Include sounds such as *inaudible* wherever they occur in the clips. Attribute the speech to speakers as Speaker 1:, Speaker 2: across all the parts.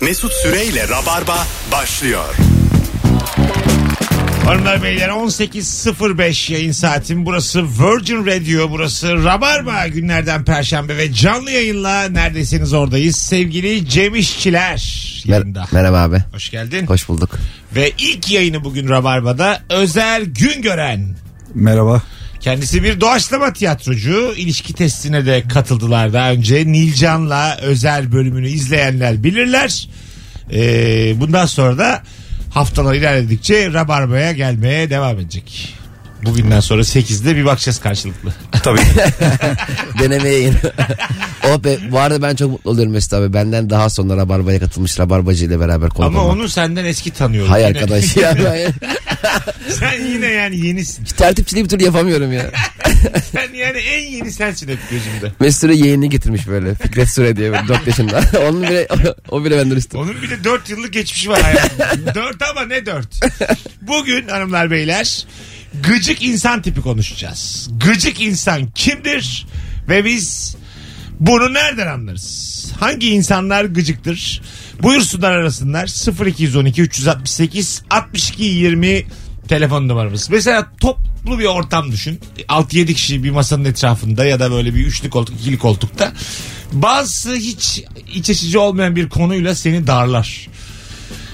Speaker 1: Mesut Süreyle Rabarba başlıyor.
Speaker 2: Hanımlar beyler 18.05 yayın saatim. Burası Virgin Radio, burası Rabarba günlerden Perşembe ve canlı yayınla neredesiniz oradayız. Sevgili Cem İşçiler
Speaker 3: Mer-
Speaker 2: yayında.
Speaker 3: merhaba abi.
Speaker 2: Hoş geldin.
Speaker 3: Hoş bulduk.
Speaker 2: Ve ilk yayını bugün Rabarba'da Özel Güngören.
Speaker 4: Merhaba.
Speaker 2: Kendisi bir doğaçlama tiyatrocu. İlişki testine de katıldılar daha önce. Nilcan'la özel bölümünü izleyenler bilirler. Ee, bundan sonra da haftalar ilerledikçe Rabarba'ya gelmeye devam edecek. Bugünden sonra 8'de bir bakacağız karşılıklı.
Speaker 4: Tabii.
Speaker 3: Denemeye yeni. oh be bu arada ben çok mutlu oluyorum Mesut abi. Benden daha sonra Rabarba'ya katılmış Rabarbacı ile beraber
Speaker 2: *laughs*
Speaker 3: konuk
Speaker 2: Ama
Speaker 3: olmak.
Speaker 2: onu senden eski tanıyorum.
Speaker 3: Hay
Speaker 2: Yine-
Speaker 3: arkadaş ya. Ben
Speaker 2: *laughs* Sen yine yani yenisin.
Speaker 3: tertipçiliği bir türlü yapamıyorum ya.
Speaker 2: Sen yani en yeni sensin hep gözümde.
Speaker 3: Mesut Süre yeğenini getirmiş böyle. Fikret Süre diye 4 yaşında. *laughs* Onun bile, o bile benden üstün.
Speaker 2: Onun bir de 4 yıllık geçmişi var hayatımda. 4 ama ne 4? Bugün hanımlar beyler gıcık insan tipi konuşacağız. Gıcık insan kimdir ve biz bunu nereden anlarız? Hangi insanlar gıcıktır? Buyursunlar arasınlar 0212 368 62 20 telefon numaramız. Mesela toplu bir ortam düşün. 6-7 kişi bir masanın etrafında ya da böyle bir üçlü koltuk, ikili koltukta. Bazısı hiç iç açıcı olmayan bir konuyla seni darlar.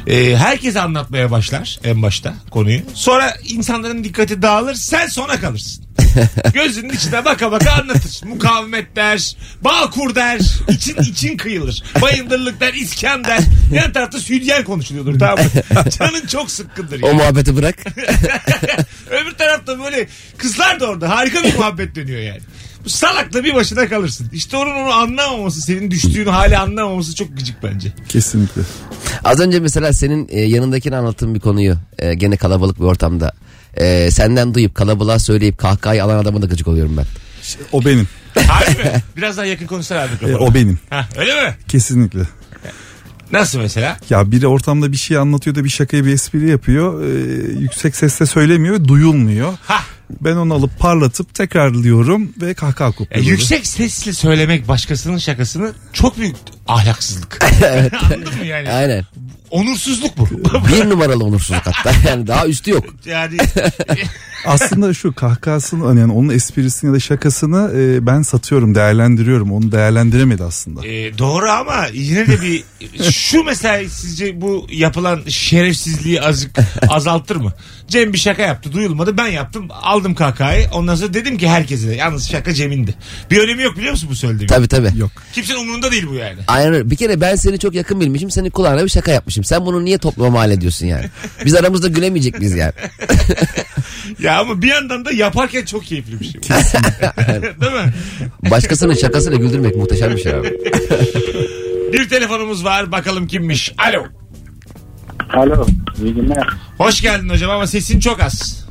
Speaker 2: Ee, herkes anlatmaya başlar en başta konuyu. Sonra insanların dikkati dağılır sen sona
Speaker 4: *laughs*
Speaker 2: kalırsın. Gözünün içine baka baka anlatır. Mukavemet der, bağkur der, için için kıyılır. Bayındırlık der, iskan der. Yan tarafta südyen konuşuluyordur tamam
Speaker 4: *laughs*
Speaker 2: mı? Canın çok sıkkındır.
Speaker 3: O
Speaker 2: Yani.
Speaker 3: muhabbeti bırak.
Speaker 2: Öbür tarafta böyle kızlar da orada harika bir muhabbet dönüyor yani. Bu salakla bir başına kalırsın. İşte onun onu anlamaması, senin düştüğün hali anlamaması çok gıcık bence.
Speaker 4: Kesinlikle.
Speaker 3: Az önce mesela senin e, yanındakine anlattığın bir konuyu e, gene kalabalık bir ortamda e, senden duyup kalabalığa söyleyip kahkahayı alan adama da gıcık oluyorum ben.
Speaker 4: Şey, O benim.
Speaker 2: Harbi mi? Biraz daha yakın konuşsana abi.
Speaker 4: *laughs* E,
Speaker 2: kafana.
Speaker 4: o benim.
Speaker 2: Ha, öyle mi?
Speaker 4: Kesinlikle.
Speaker 2: Nasıl mesela?
Speaker 4: Ya biri ortamda bir şey anlatıyor da bir şakayı bir espri yapıyor. E, yüksek sesle söylemiyor ve duyulmuyor.
Speaker 2: Ha,
Speaker 4: Ben onu alıp parlatıp tekrarlıyorum ve kahkaha
Speaker 2: e,
Speaker 4: kopluyorum.
Speaker 2: yüksek sesle söylemek başkasının şakasını çok büyük ahlaksızlık. *laughs* Anladın mı yani?
Speaker 3: Aynen.
Speaker 2: Onursuzluk bu.
Speaker 3: Bir numaralı onursuzluk hatta. *laughs* Yani daha üstü yok.
Speaker 2: *laughs* yani
Speaker 4: Aslında şu kahkahasını hani, yani onun esprisini ya da şakasını e, ben satıyorum, değerlendiriyorum. Onu değerlendiremedi aslında.
Speaker 2: e, doğru ama yine de bir şu mesela sizce bu yapılan şerefsizliği azıcık azaltır mı? Cem bir şaka yaptı duyulmadı ben yaptım aldım kakayı ondan sonra dedim ki herkese yalnız şaka Cem'indi. Bir önemi yok biliyor musun bu söylediğim?
Speaker 3: Tabii tabii.
Speaker 4: Yok.
Speaker 2: Kimsenin umurunda değil bu yani.
Speaker 3: Aynen öyle. Bir kere ben seni çok yakın bilmişim. Senin kulağına bir şaka yapmışım. Sen bunu niye topluma mal ediyorsun yani? Biz aramızda gülemeyecek miyiz yani?
Speaker 2: Ya ama bir yandan da yaparken çok keyifli bir şey. bu. *laughs* Değil mi?
Speaker 3: Başkasının şakasıyla güldürmek muhteşem bir şey abi.
Speaker 2: Bir telefonumuz var bakalım kimmiş. Alo.
Speaker 5: Alo, iyi günler.
Speaker 2: Hoş geldin hocam ama sesin çok az.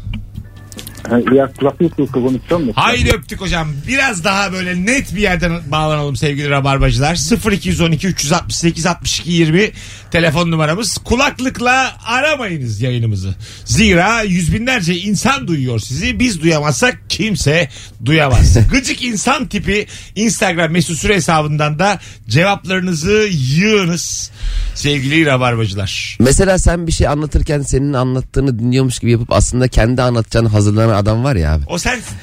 Speaker 5: Ha, Ya kulak yok yok konuşuyor musun?
Speaker 2: Haydi öptük hocam. Biraz daha böyle net bir yerden bağlanalım sevgili rabarbacılar. 0212 368 62 20 telefon numaramız. Kulaklıkla aramayınız yayınımızı. Zira yüz binlerce insan duyuyor sizi. Biz duyamazsak kimse duyamaz. Gıcık insan tipi Instagram mesut süre hesabından da cevaplarınızı yığınız sevgili rabarbacılar.
Speaker 3: Mesela sen bir şey anlatırken senin anlattığını dinliyormuş gibi yapıp aslında kendi anlatacağını hazırlanan adam var ya abi.
Speaker 2: O sensin.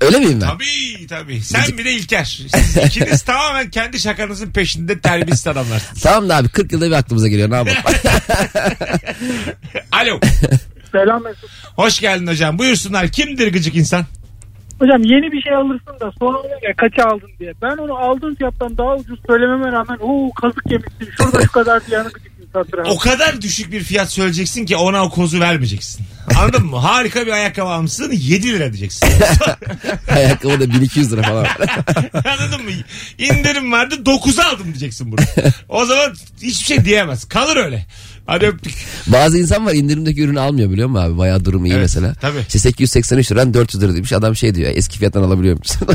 Speaker 3: Öyle miyim ben?
Speaker 2: Tabii tabii. Sen bir de İlker. Siz ikiniz tamamen kendi şakanızın peşinde terbiyesiz adamlarsınız.
Speaker 3: Tamam da abi 40 yılda bir aklımıza geliyor ne yapalım?
Speaker 2: Alo.
Speaker 6: Selam Mesut.
Speaker 2: Hoş geldin hocam. Buyursunlar. Kimdir gıcık insan?
Speaker 6: Hocam yeni bir şey alırsın da sonra olur ya kaça aldın diye. Ben onu aldığın fiyattan daha ucuz söylememe rağmen o kazık yemişsin şurada şu kadar diye yanı gıcık insandır abi.
Speaker 2: O kadar düşük bir fiyat söyleyeceksin ki ona o kozu vermeyeceksin. Anladın mı? Harika bir ayakkabı almışsın 7 lira diyeceksin.
Speaker 3: Ayakkabı da 1200 lira falan.
Speaker 2: Anladın mı? İndirim vardı 9'a aldım diyeceksin bunu. O zaman hiçbir şey diyemez. Kalır öyle. Hadi öptük.
Speaker 3: Bazı insan var indirimdeki ürünü almıyor biliyor musun abi? Bayağı durumu iyi
Speaker 2: Evet,
Speaker 3: mesela.
Speaker 2: tabii.
Speaker 3: İşte 883 liran 400 lira demiş. Adam şey diyor eski fiyattan alabiliyor musun?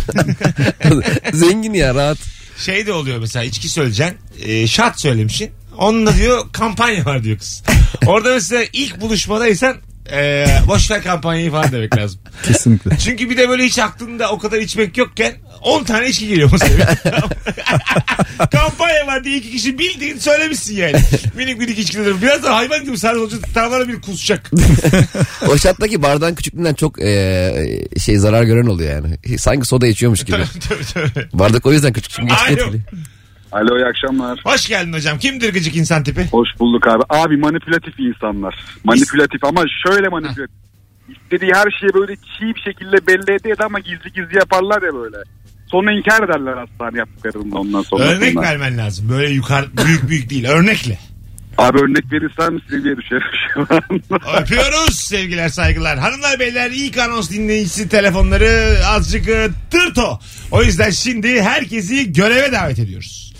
Speaker 3: *laughs* Zengin ya rahat.
Speaker 2: Şey de oluyor mesela içki söyleyeceksin. E, şart söylemişsin. Onunla diyor kampanya var diyor kız. Orada mesela ilk buluşmadaysan e, boşver kampanyayı falan demek lazım.
Speaker 4: Kesinlikle.
Speaker 2: Çünkü bir de böyle hiç aklında o kadar içmek yokken 10 tane içki geliyor masaya. *laughs* Kampanya var diye iki kişi bildiğin söylemişsin yani. Minik minik içkiler. Biraz da hayvan gibi sarhoş olacak. Tavlara bir kusacak.
Speaker 3: O şattaki bardağın küçüklüğünden çok e, şey zarar gören oluyor yani. Sanki soda içiyormuş gibi.
Speaker 2: Tabii, tabii.
Speaker 3: Bardak o yüzden küçük. Çünkü
Speaker 2: Alo.
Speaker 3: etkili.
Speaker 7: Alo iyi akşamlar.
Speaker 2: Hoş geldin hocam. Kimdir gıcık insan tipi?
Speaker 7: Hoş bulduk abi. Abi manipülatif insanlar. Manipülatif ama şöyle manipülatif. İstediği her şeyi böyle çiğ bir şekilde belli ediyor ama gizli gizli yaparlar ya böyle. Sonra inkar ederler hastane yaptıklarında ondan sonra.
Speaker 2: Örnek vermen lazım. Böyle yukarı büyük büyük değil. Örnekle.
Speaker 7: Abi örnek verirsem seviye düşerim *laughs* şu an.
Speaker 2: Öpüyoruz sevgiler saygılar. Hanımlar beyler ilk anons dinleyicisi telefonları azıcık e, tırto. O yüzden şimdi herkesi göreve davet ediyoruz.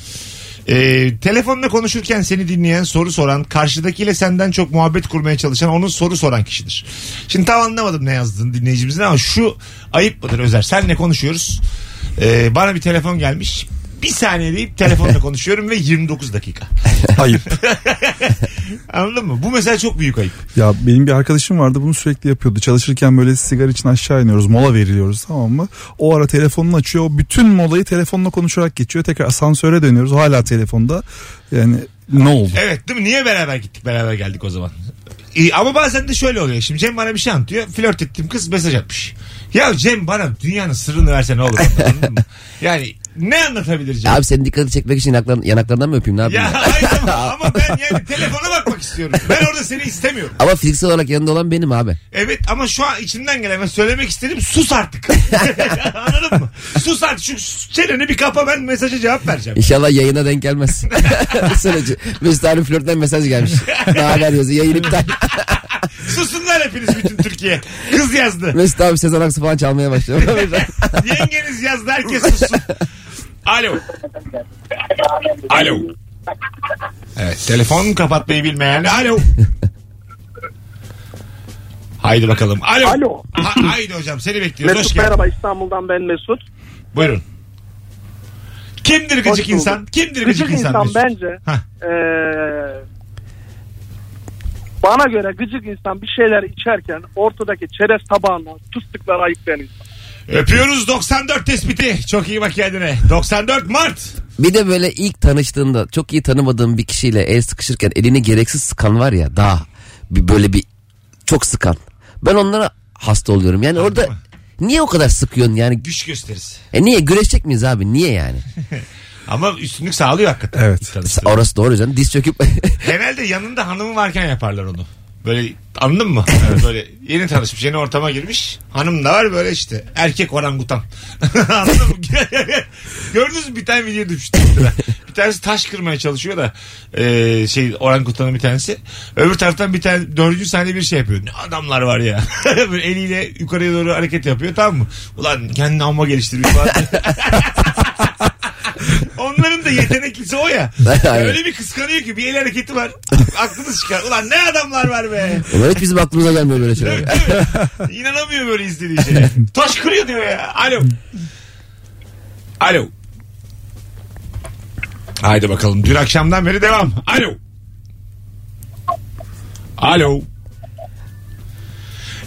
Speaker 2: Ee, telefonla konuşurken seni dinleyen soru soran karşıdakiyle senden çok muhabbet kurmaya çalışan onun soru soran kişidir. Şimdi tam anlamadım ne yazdığını dinleyicimizin ama şu ayıp mıdır Özer senle konuşuyoruz. Ee, bana bir telefon gelmiş bir saniye deyip telefonla konuşuyorum ve 29 dakika.
Speaker 4: Ayıp.
Speaker 2: Anladın mı? Bu mesela çok büyük ayıp.
Speaker 4: Ya benim bir arkadaşım vardı bunu sürekli yapıyordu. Çalışırken böyle sigara için aşağı iniyoruz. Mola veriliyoruz tamam mı? O ara telefonunu açıyor. o Bütün molayı telefonla konuşarak geçiyor. Tekrar asansöre dönüyoruz. Hala telefonda. Yani ne oldu?
Speaker 2: Evet değil mi? Niye beraber gittik beraber geldik o zaman? İyi, ama bazen de şöyle oluyor. Şimdi Cem bana bir şey anlatıyor. Flört ettiğim kız mesaj atmış. Ya Cem bana dünyanın sırrını verse ne olur? Anladın mı? Yani ne anlatabilir Cem?
Speaker 3: Abi senin dikkatini çekmek için yanaklar- yanaklarından mı öpeyim ne yapayım?
Speaker 2: ya
Speaker 3: ya?
Speaker 2: hayır ama, ama ben yani telefona bakmak istiyorum. Ben orada seni istemiyorum.
Speaker 3: Ama fiziksel olarak yanında olan benim abi.
Speaker 2: Evet ama şu an içimden gelen ben söylemek istedim sus artık. *laughs* Anladın mı? Sus artık şu çeneni bir kapa ben mesaja cevap vereceğim.
Speaker 3: İnşallah yayına
Speaker 2: *laughs*
Speaker 3: denk gelmez. Sıracı. Mesut abi flörtten mesaj gelmiş. Ne haber yazıyor? Yayın iptal.
Speaker 2: Susunlar hepiniz bütün Türkiye. Kız yazdı.
Speaker 3: Mesut abi Sezen Aksu falan çalmaya başlıyor.
Speaker 2: *laughs* Yengeniz yazdı herkes sussun. Alo. Alo. Evet telefon kapatmayı bilmeyen. Alo. Haydi bakalım. Alo.
Speaker 8: Alo.
Speaker 2: Ha- haydi hocam seni bekliyoruz. Hoş
Speaker 8: Mesut
Speaker 2: geldin.
Speaker 8: merhaba İstanbul'dan ben Mesut.
Speaker 2: Buyurun. Kimdir
Speaker 8: Hoş
Speaker 2: gıcık
Speaker 8: bulduk.
Speaker 2: insan? Kimdir gıcık,
Speaker 8: Gıcık insan
Speaker 2: Mesut?
Speaker 8: bence.
Speaker 2: Hah.
Speaker 8: Ee, bana göre gıcık insan bir şeyler içerken ortadaki çerez tabağından fıstıklar ayıklayan insan.
Speaker 2: Öpüyoruz 94 tespiti. Çok iyi bak kendine. 94 Mart.
Speaker 3: bir de böyle ilk tanıştığında çok iyi tanımadığın bir kişiyle el sıkışırken elini gereksiz sıkan var ya daha bir böyle bir çok sıkan. Ben onlara hasta oluyorum. Yani orada
Speaker 2: mı?
Speaker 3: niye o kadar sıkıyorsun yani?
Speaker 2: Güç gösterisi.
Speaker 3: E niye güreşecek miyiz abi? Niye yani?
Speaker 2: Ama üstünlük sağlıyor hakikaten.
Speaker 4: Evet.
Speaker 2: Tanıştığın.
Speaker 3: Orası doğru canım. Diz çöküp *laughs*
Speaker 2: Genelde yanında hanımı varken yaparlar onu. Böyle anladın mı? böyle yeni tanışmış, yeni ortama girmiş. Hanım da var böyle işte. Erkek orangutan. *laughs* anladın mı? *laughs* Gördünüz mü bir tane video düştü. bir tanesi taş kırmaya çalışıyor da e, şey orangutanın bir tanesi. Öbür taraftan bir tane dördüncü saniye bir şey yapıyor. Ne adamlar var ya. *laughs* böyle eliyle yukarıya doğru hareket yapıyor tamam mı? Ulan kendini amma geliştirmiş falan. Onların da yeteneklisi o ya.
Speaker 3: Aynen.
Speaker 2: Öyle bir kıskanıyor ki bir el hareketi var. Aklınız çıkar. Ulan ne adamlar var be.
Speaker 3: Ulan hiç bizim aklımıza gelmiyor böyle şeyler.
Speaker 2: İnanamıyor böyle izlediği şeye. Taş kırıyor diyor ya. Alo. Alo. Haydi bakalım. Dün akşamdan beri devam. Alo. Alo.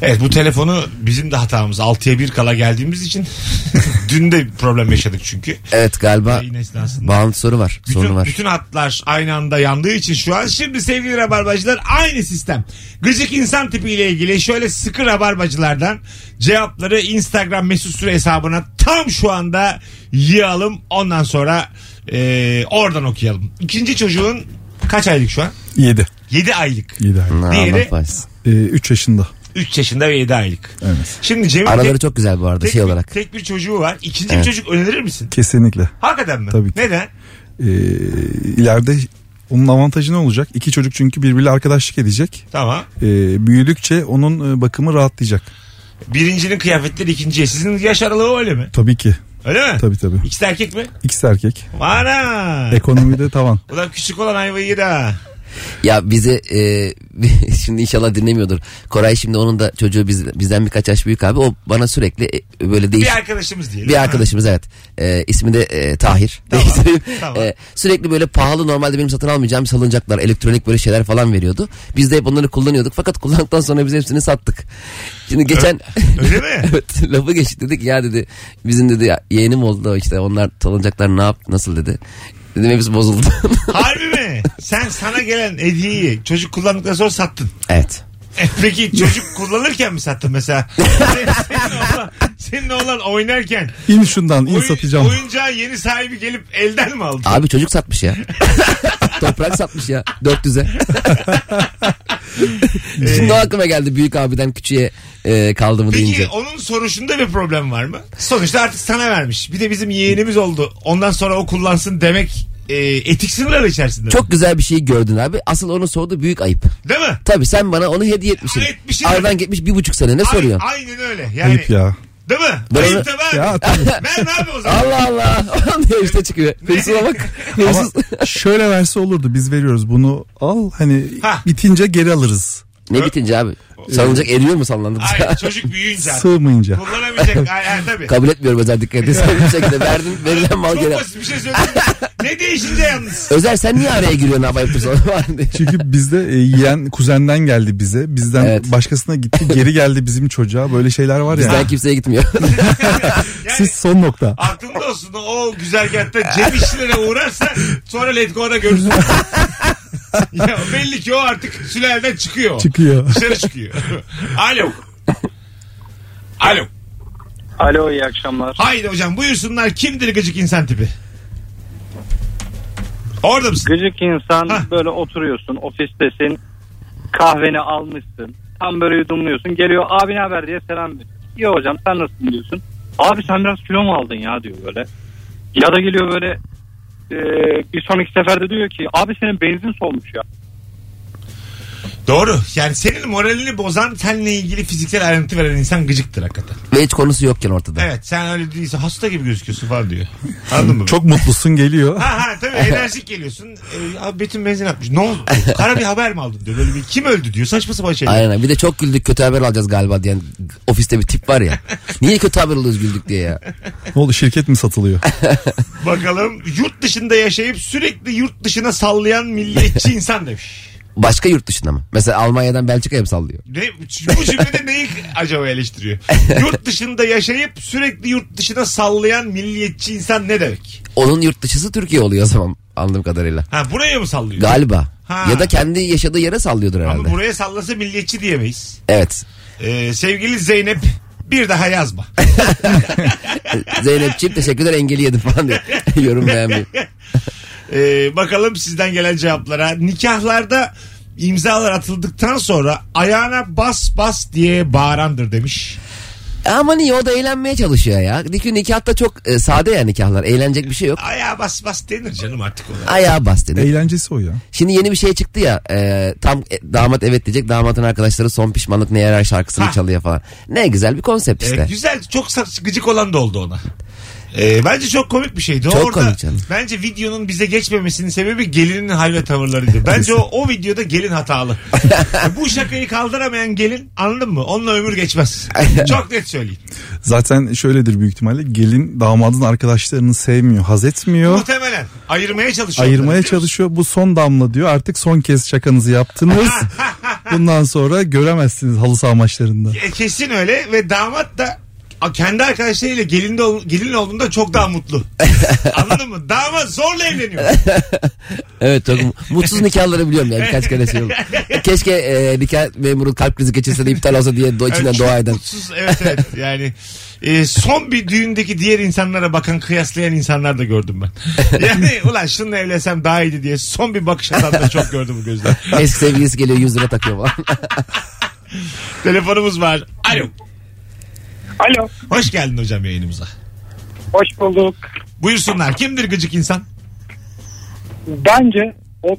Speaker 2: Evet bu telefonu bizim de hatamız. 6'ya 1 kala geldiğimiz için *laughs* dün de problem yaşadık çünkü.
Speaker 3: evet galiba
Speaker 2: Yayın esnasında.
Speaker 3: bağlantı sorunu var.
Speaker 2: Bütün,
Speaker 3: sorunu var.
Speaker 2: bütün hatlar aynı anda yandığı için şu an. Şimdi sevgili rabarbacılar aynı sistem. Gıcık insan tipiyle ilgili şöyle sıkı rabarbacılardan cevapları Instagram mesut süre hesabına tam şu anda yığalım. Ondan sonra e, oradan okuyalım. İkinci çocuğun kaç aylık şu an?
Speaker 4: 7.
Speaker 2: 7 aylık.
Speaker 4: 7 ay.
Speaker 3: Ha,
Speaker 2: diğeri-
Speaker 3: Allah bağışlasın.
Speaker 4: 3 yaşında.
Speaker 2: 3 yaşında ve 7 aylık.
Speaker 4: Evet.
Speaker 2: Şimdi Cem'in
Speaker 3: Araları
Speaker 2: tek-
Speaker 3: çok güzel bu arada
Speaker 2: tek,
Speaker 3: şey
Speaker 2: bir-
Speaker 3: olarak.
Speaker 2: tek bir çocuğu var. İkinci
Speaker 3: Evet.
Speaker 2: bir çocuk önerir misin?
Speaker 4: Kesinlikle.
Speaker 2: Hakikaten mi?
Speaker 4: Tabii ki.
Speaker 2: Neden?
Speaker 4: Ee, ileride onun avantajı ne olacak? İki çocuk çünkü birbiriyle arkadaşlık edecek.
Speaker 2: Tamam.
Speaker 4: Ee, büyüdükçe onun e, bakımı rahatlayacak.
Speaker 2: Birincinin kıyafetleri ikinciye. Sizin yaş aralığı öyle mi?
Speaker 4: Tabii ki.
Speaker 2: Öyle mi?
Speaker 4: Tabii tabii.
Speaker 2: İkisi de erkek mi?
Speaker 4: İkisi erkek.
Speaker 2: Ana!
Speaker 4: Ekonomide tavan.
Speaker 2: Ulan küçük olan ayvayı yedi ha.
Speaker 3: Ya bize e, *laughs* şimdi inşallah dinlemiyordur. Koray şimdi onun da çocuğu biz, bizden birkaç yaş büyük abi. O bana sürekli e, böyle değiş
Speaker 2: Bir arkadaşımız diyelim.
Speaker 3: bir arkadaşımız evet. E, ismi de e, Tahir. Değiştireyim.
Speaker 2: *laughs* tamam.
Speaker 3: E, sürekli böyle pahalı normalde benim satın almayacağım salıncaklar, elektronik böyle şeyler falan veriyordu. Biz de hep onları kullanıyorduk. Fakat kullandıktan sonra biz hepsini sattık. Şimdi geçen
Speaker 2: Öyle mi?
Speaker 3: *laughs* evet lafı geçti dedik ya dedi bizim dedi ya, yeğenim oldu işte onlar salıncaklar ne yaptı nasıl dedi. Dedim
Speaker 2: *laughs*
Speaker 3: hepsi bozuldu.
Speaker 2: Harbi mi? Sen sana gelen hediyeyi çocuk kullandıktan sonra sattın.
Speaker 3: evet.
Speaker 2: E peki çocuk kullanırken mi sattın mesela? Senin, senin, oğlan, senin oğlan oynarken
Speaker 4: İn şundan in
Speaker 2: oyun-
Speaker 4: satacağım.
Speaker 2: oyuncağın yeni sahibi gelip elden mi aldı?
Speaker 3: Abi çocuk satmış ya. *laughs* Toprak satmış ya
Speaker 2: *laughs*
Speaker 3: 400'e. Şimdi o aklıma geldi büyük abiden küçüğe e, kaldı mı
Speaker 2: Peki
Speaker 3: deyince.
Speaker 2: onun soruşunda bir problem var mı? Sonuçta artık sana vermiş. Bir de bizim yeğenimiz oldu. Ondan sonra o kullansın demek e, etik sınırlar içerisinde.
Speaker 3: Çok güzel bir şey gördün abi. Asıl onu sordu büyük ayıp.
Speaker 2: Değil mi?
Speaker 3: Tabii sen bana onu hediye etmişsin.
Speaker 2: Etmişim.
Speaker 3: Aradan gitmiş bir buçuk sene ne soruyorsun?
Speaker 2: Ay- aynen öyle. Yani,
Speaker 4: Ayıp ya.
Speaker 2: Değil mi?
Speaker 3: Ben
Speaker 2: Ayıp
Speaker 3: onu-
Speaker 2: tabii abi. *laughs*
Speaker 4: Ya tabii.
Speaker 2: Ver abi o zaman.
Speaker 3: Allah Allah. *laughs* diye işte çıkıyor. Hırsıza bak.
Speaker 4: Ama
Speaker 3: Hırsız.
Speaker 2: *laughs*
Speaker 4: şöyle verse olurdu biz veriyoruz bunu al hani
Speaker 2: Ha.
Speaker 4: bitince geri alırız.
Speaker 3: ne bitince abi? Sallanacak eriyor mu sallandı?
Speaker 2: Ay, *laughs* çocuk büyüyünce. artık.
Speaker 4: Sığmayınca.
Speaker 2: Kullanamayacak. Ay, ay, tabii.
Speaker 3: *laughs* Kabul etmiyorum özel dikkat ediyorsan. bir şekilde verdin verilen mal
Speaker 2: Çok
Speaker 3: geri. al.
Speaker 2: basit bir şey söyledim. ne değişince yalnız.
Speaker 3: Özel sen niye araya giriyorsun hava yapıyorsun?
Speaker 2: *laughs*
Speaker 4: Çünkü bizde e, yeğen kuzenden geldi bize. Bizden
Speaker 3: Evet.
Speaker 4: başkasına gitti geri geldi bizim çocuğa. Böyle şeyler var ya.
Speaker 3: Bizden kimseye gitmiyor.
Speaker 2: *laughs* Yani
Speaker 4: Siz
Speaker 2: *laughs*
Speaker 4: son nokta.
Speaker 2: aklında olsun o güzergahta cep işlerine uğrarsa sonra Letgo'da görürsün. *laughs* ya belli ki o artık sülaleden çıkıyor.
Speaker 4: Çıkıyor.
Speaker 2: Dışarı çıkıyor. *laughs* Alo. Alo.
Speaker 8: Alo iyi akşamlar.
Speaker 2: Haydi hocam buyursunlar kimdir gıcık insan tipi? Orada mısın?
Speaker 8: Gıcık insan
Speaker 2: Hah.
Speaker 8: böyle oturuyorsun ofistesin kahveni almışsın tam böyle yudumluyorsun geliyor abi ne haber diye selam veriyor. İyi hocam sen nasılsın diyorsun. Abi sen biraz kilo mu aldın ya diyor böyle. Ya da geliyor böyle e, bir sonraki seferde diyor ki abi senin benzin solmuş ya.
Speaker 2: Doğru. Yani senin moralini bozan seninle ilgili fiziksel ayrıntı veren insan gıcıktır hakikaten.
Speaker 3: *laughs* Ve hiç konusu yokken ortada.
Speaker 2: Evet sen öyle değilse hasta gibi gözüküyorsun falan diyor. Anladın mı?
Speaker 4: Çok mutlusun geliyor.
Speaker 2: Ha ha tabii enerjik geliyorsun. Ee, abi Betim benzin atmış. Ne oldu? Kara bir haber mi aldın diyor. Böyle bir kim öldü diyor. Saçma sapan şey.
Speaker 3: Aynen bir de çok güldük kötü haber alacağız galiba diyen ofiste bir tip
Speaker 2: *laughs*
Speaker 3: var ya. Niye kötü haber alıyoruz güldük diye ya.
Speaker 4: Ne oldu şirket mi satılıyor?
Speaker 2: Bakalım yurt dışında yaşayıp sürekli yurt dışına sallayan milliyetçi insan demiş.
Speaker 3: Başka yurt dışında mı? Mesela Almanya'dan Belçika'ya mı sallıyor?
Speaker 2: Ne, bu cümlede neyi acaba eleştiriyor? Yurt dışında yaşayıp sürekli yurt dışına sallayan milliyetçi insan ne demek?
Speaker 3: Onun yurt dışısı Türkiye oluyor o zaman anladığım kadarıyla.
Speaker 2: Ha buraya mı sallıyor?
Speaker 3: Galiba.
Speaker 2: Ha.
Speaker 3: Ya da kendi yaşadığı yere sallıyordur herhalde.
Speaker 2: Ama buraya sallasa milliyetçi diyemeyiz.
Speaker 3: Evet.
Speaker 2: Ee, sevgili Zeynep bir daha yazma.
Speaker 3: Zeynepciğim teşekkürler engeli yedim falan diye. *laughs* Yorum beğenmeyi.
Speaker 2: Ee, bakalım sizden gelen cevaplara. Nikahlarda imzalar atıldıktan sonra ayağına bas bas diye bağırandır demiş.
Speaker 3: Ama niye o da eğlenmeye çalışıyor ya. Çünkü nikahta çok e, sade ya nikahlar. Eğlenecek bir şey yok.
Speaker 2: Ayağa bas bas denir canım artık ona.
Speaker 3: Ayağa bas
Speaker 2: E-
Speaker 3: dedi.
Speaker 4: Eğlencesi o ya.
Speaker 3: Şimdi yeni bir şey çıktı ya e, tam e, damat evet diyecek damatın arkadaşları son pişmanlık ne yarar şarkısını
Speaker 2: Ha.
Speaker 3: çalıyor falan. Ne güzel bir konsept
Speaker 2: Ee,
Speaker 3: işte.
Speaker 2: güzel çok sa- gıcık olan da oldu ona. Ee, bence çok komik bir şeydi.
Speaker 3: Çok
Speaker 2: Orada,
Speaker 3: komik canım.
Speaker 2: Bence videonun bize geçmemesinin sebebi gelinin hal ve tavırlarıydı. Bence o, o videoda gelin
Speaker 3: *laughs*
Speaker 2: hatalı. Bu şakayı kaldıramayan gelin anladın mı? Onunla ömür
Speaker 3: *laughs*
Speaker 2: geçmez. çok net söyleyeyim.
Speaker 4: Zaten şöyledir büyük ihtimalle gelin damadın arkadaşlarını sevmiyor, haz etmiyor.
Speaker 2: Muhtemelen ayırmaya çalışıyor.
Speaker 4: Ayırmaya çalışıyor. Bu son damla diyor. Artık son kez şakanızı yaptınız. Bundan sonra göremezsiniz halı saha maçlarında.
Speaker 2: E, kesin öyle ve damat da a, kendi arkadaşlarıyla gelin, de, ol- gelin olduğunda çok daha
Speaker 3: *laughs*
Speaker 2: mutlu. Anladın mı? Damat zorla evleniyor.
Speaker 3: Evet çok mu- mutsuz nikahları biliyorum ya birkaç kere
Speaker 2: *laughs*
Speaker 3: şey oldu. Keşke e, nikah memuru kalp krizi geçirse de iptal olsa diye do, içinden
Speaker 2: Yani çok
Speaker 3: dua eden.
Speaker 2: Mutsuz, evet
Speaker 3: *laughs*
Speaker 2: evet. Yani e, son bir düğündeki diğer insanlara bakan kıyaslayan insanlar da gördüm ben.
Speaker 3: *laughs*
Speaker 2: Yani ulan şununla evlensem daha iyiydi diye son bir bakış atan da çok gördüm bu
Speaker 3: *laughs*
Speaker 2: gözler.
Speaker 3: Eski sevgilisi geliyor 100 lira takıyor falan. *laughs*
Speaker 2: Telefonumuz var. Alo.
Speaker 6: Alo.
Speaker 2: Hoş geldin hocam yayınımıza.
Speaker 6: Hoş bulduk.
Speaker 2: Buyursunlar. Kimdir gıcık insan?
Speaker 6: Bence o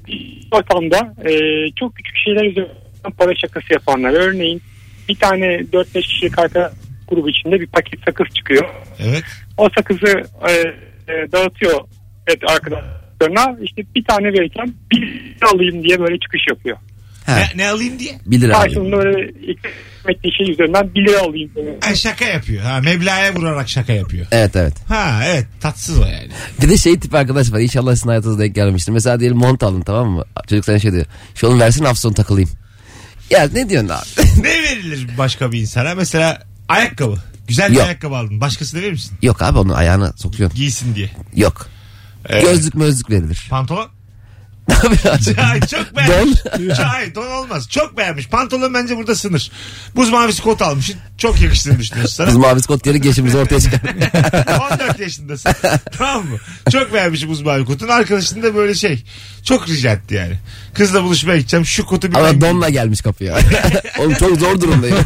Speaker 6: ortamda e, çok küçük şeyler üzerinden para şakası yapanlar. Örneğin bir tane 4-5 kişilik arka grubu içinde bir paket sakız çıkıyor.
Speaker 2: Evet.
Speaker 6: O sakızı e, e, dağıtıyor evet, arkadaşlar
Speaker 9: doktoruna işte bir tane verirken bir alayım diye böyle çıkış yapıyor.
Speaker 3: Ha,
Speaker 2: Ne, ne alayım diye.
Speaker 3: bir lira alayım.
Speaker 9: Karşılığında böyle ikram ettiği şey üzerinden bir lira alayım. diye.
Speaker 2: Ha, şaka yapıyor. Ha, meblağa vurarak şaka yapıyor.
Speaker 3: Evet evet.
Speaker 2: Ha evet tatsız o yani.
Speaker 3: Bir de şey tip arkadaş var. İnşallah sizin hayatınızda denk gelmiştir. Mesela diyelim mont alın tamam mı? Çocuk sana şey diyor. Şu oğlum versene hafta sonu takılayım. Ya ne diyorsun abi? *laughs*
Speaker 2: ne verilir başka bir insana? Mesela ayakkabı. Güzel bir
Speaker 3: Yok.
Speaker 2: ayakkabı aldın. Başkasına verir misin?
Speaker 3: Yok abi onu ayağına sokuyorsun.
Speaker 2: Giysin diye.
Speaker 3: Yok.
Speaker 2: Ee,
Speaker 3: Gözlük mözlük verilir. *laughs*
Speaker 2: Pantolon?
Speaker 3: Ne
Speaker 2: *laughs*
Speaker 3: yapıyorsun?
Speaker 2: Hayır çok beğenmiş. Hayır don olmaz. Çok beğenmiş. Pantolon bence burada sınır. Buz mavisi kot almışsın. Çok yakıştığını düşünüyorsun *laughs*
Speaker 3: Biz
Speaker 2: sana.
Speaker 3: mavi kot diyerek yaşımızı ortaya çıkar.
Speaker 2: *laughs* 14 yaşındasın. tamam mı? Çok beğenmiş buz mavi kotun. Arkadaşın da böyle şey. Çok rica etti yani. Kızla buluşmaya gideceğim. Şu kotu bir ben
Speaker 3: Ama donla gelmiş kapıya. *laughs* oğlum çok zor durumdayım.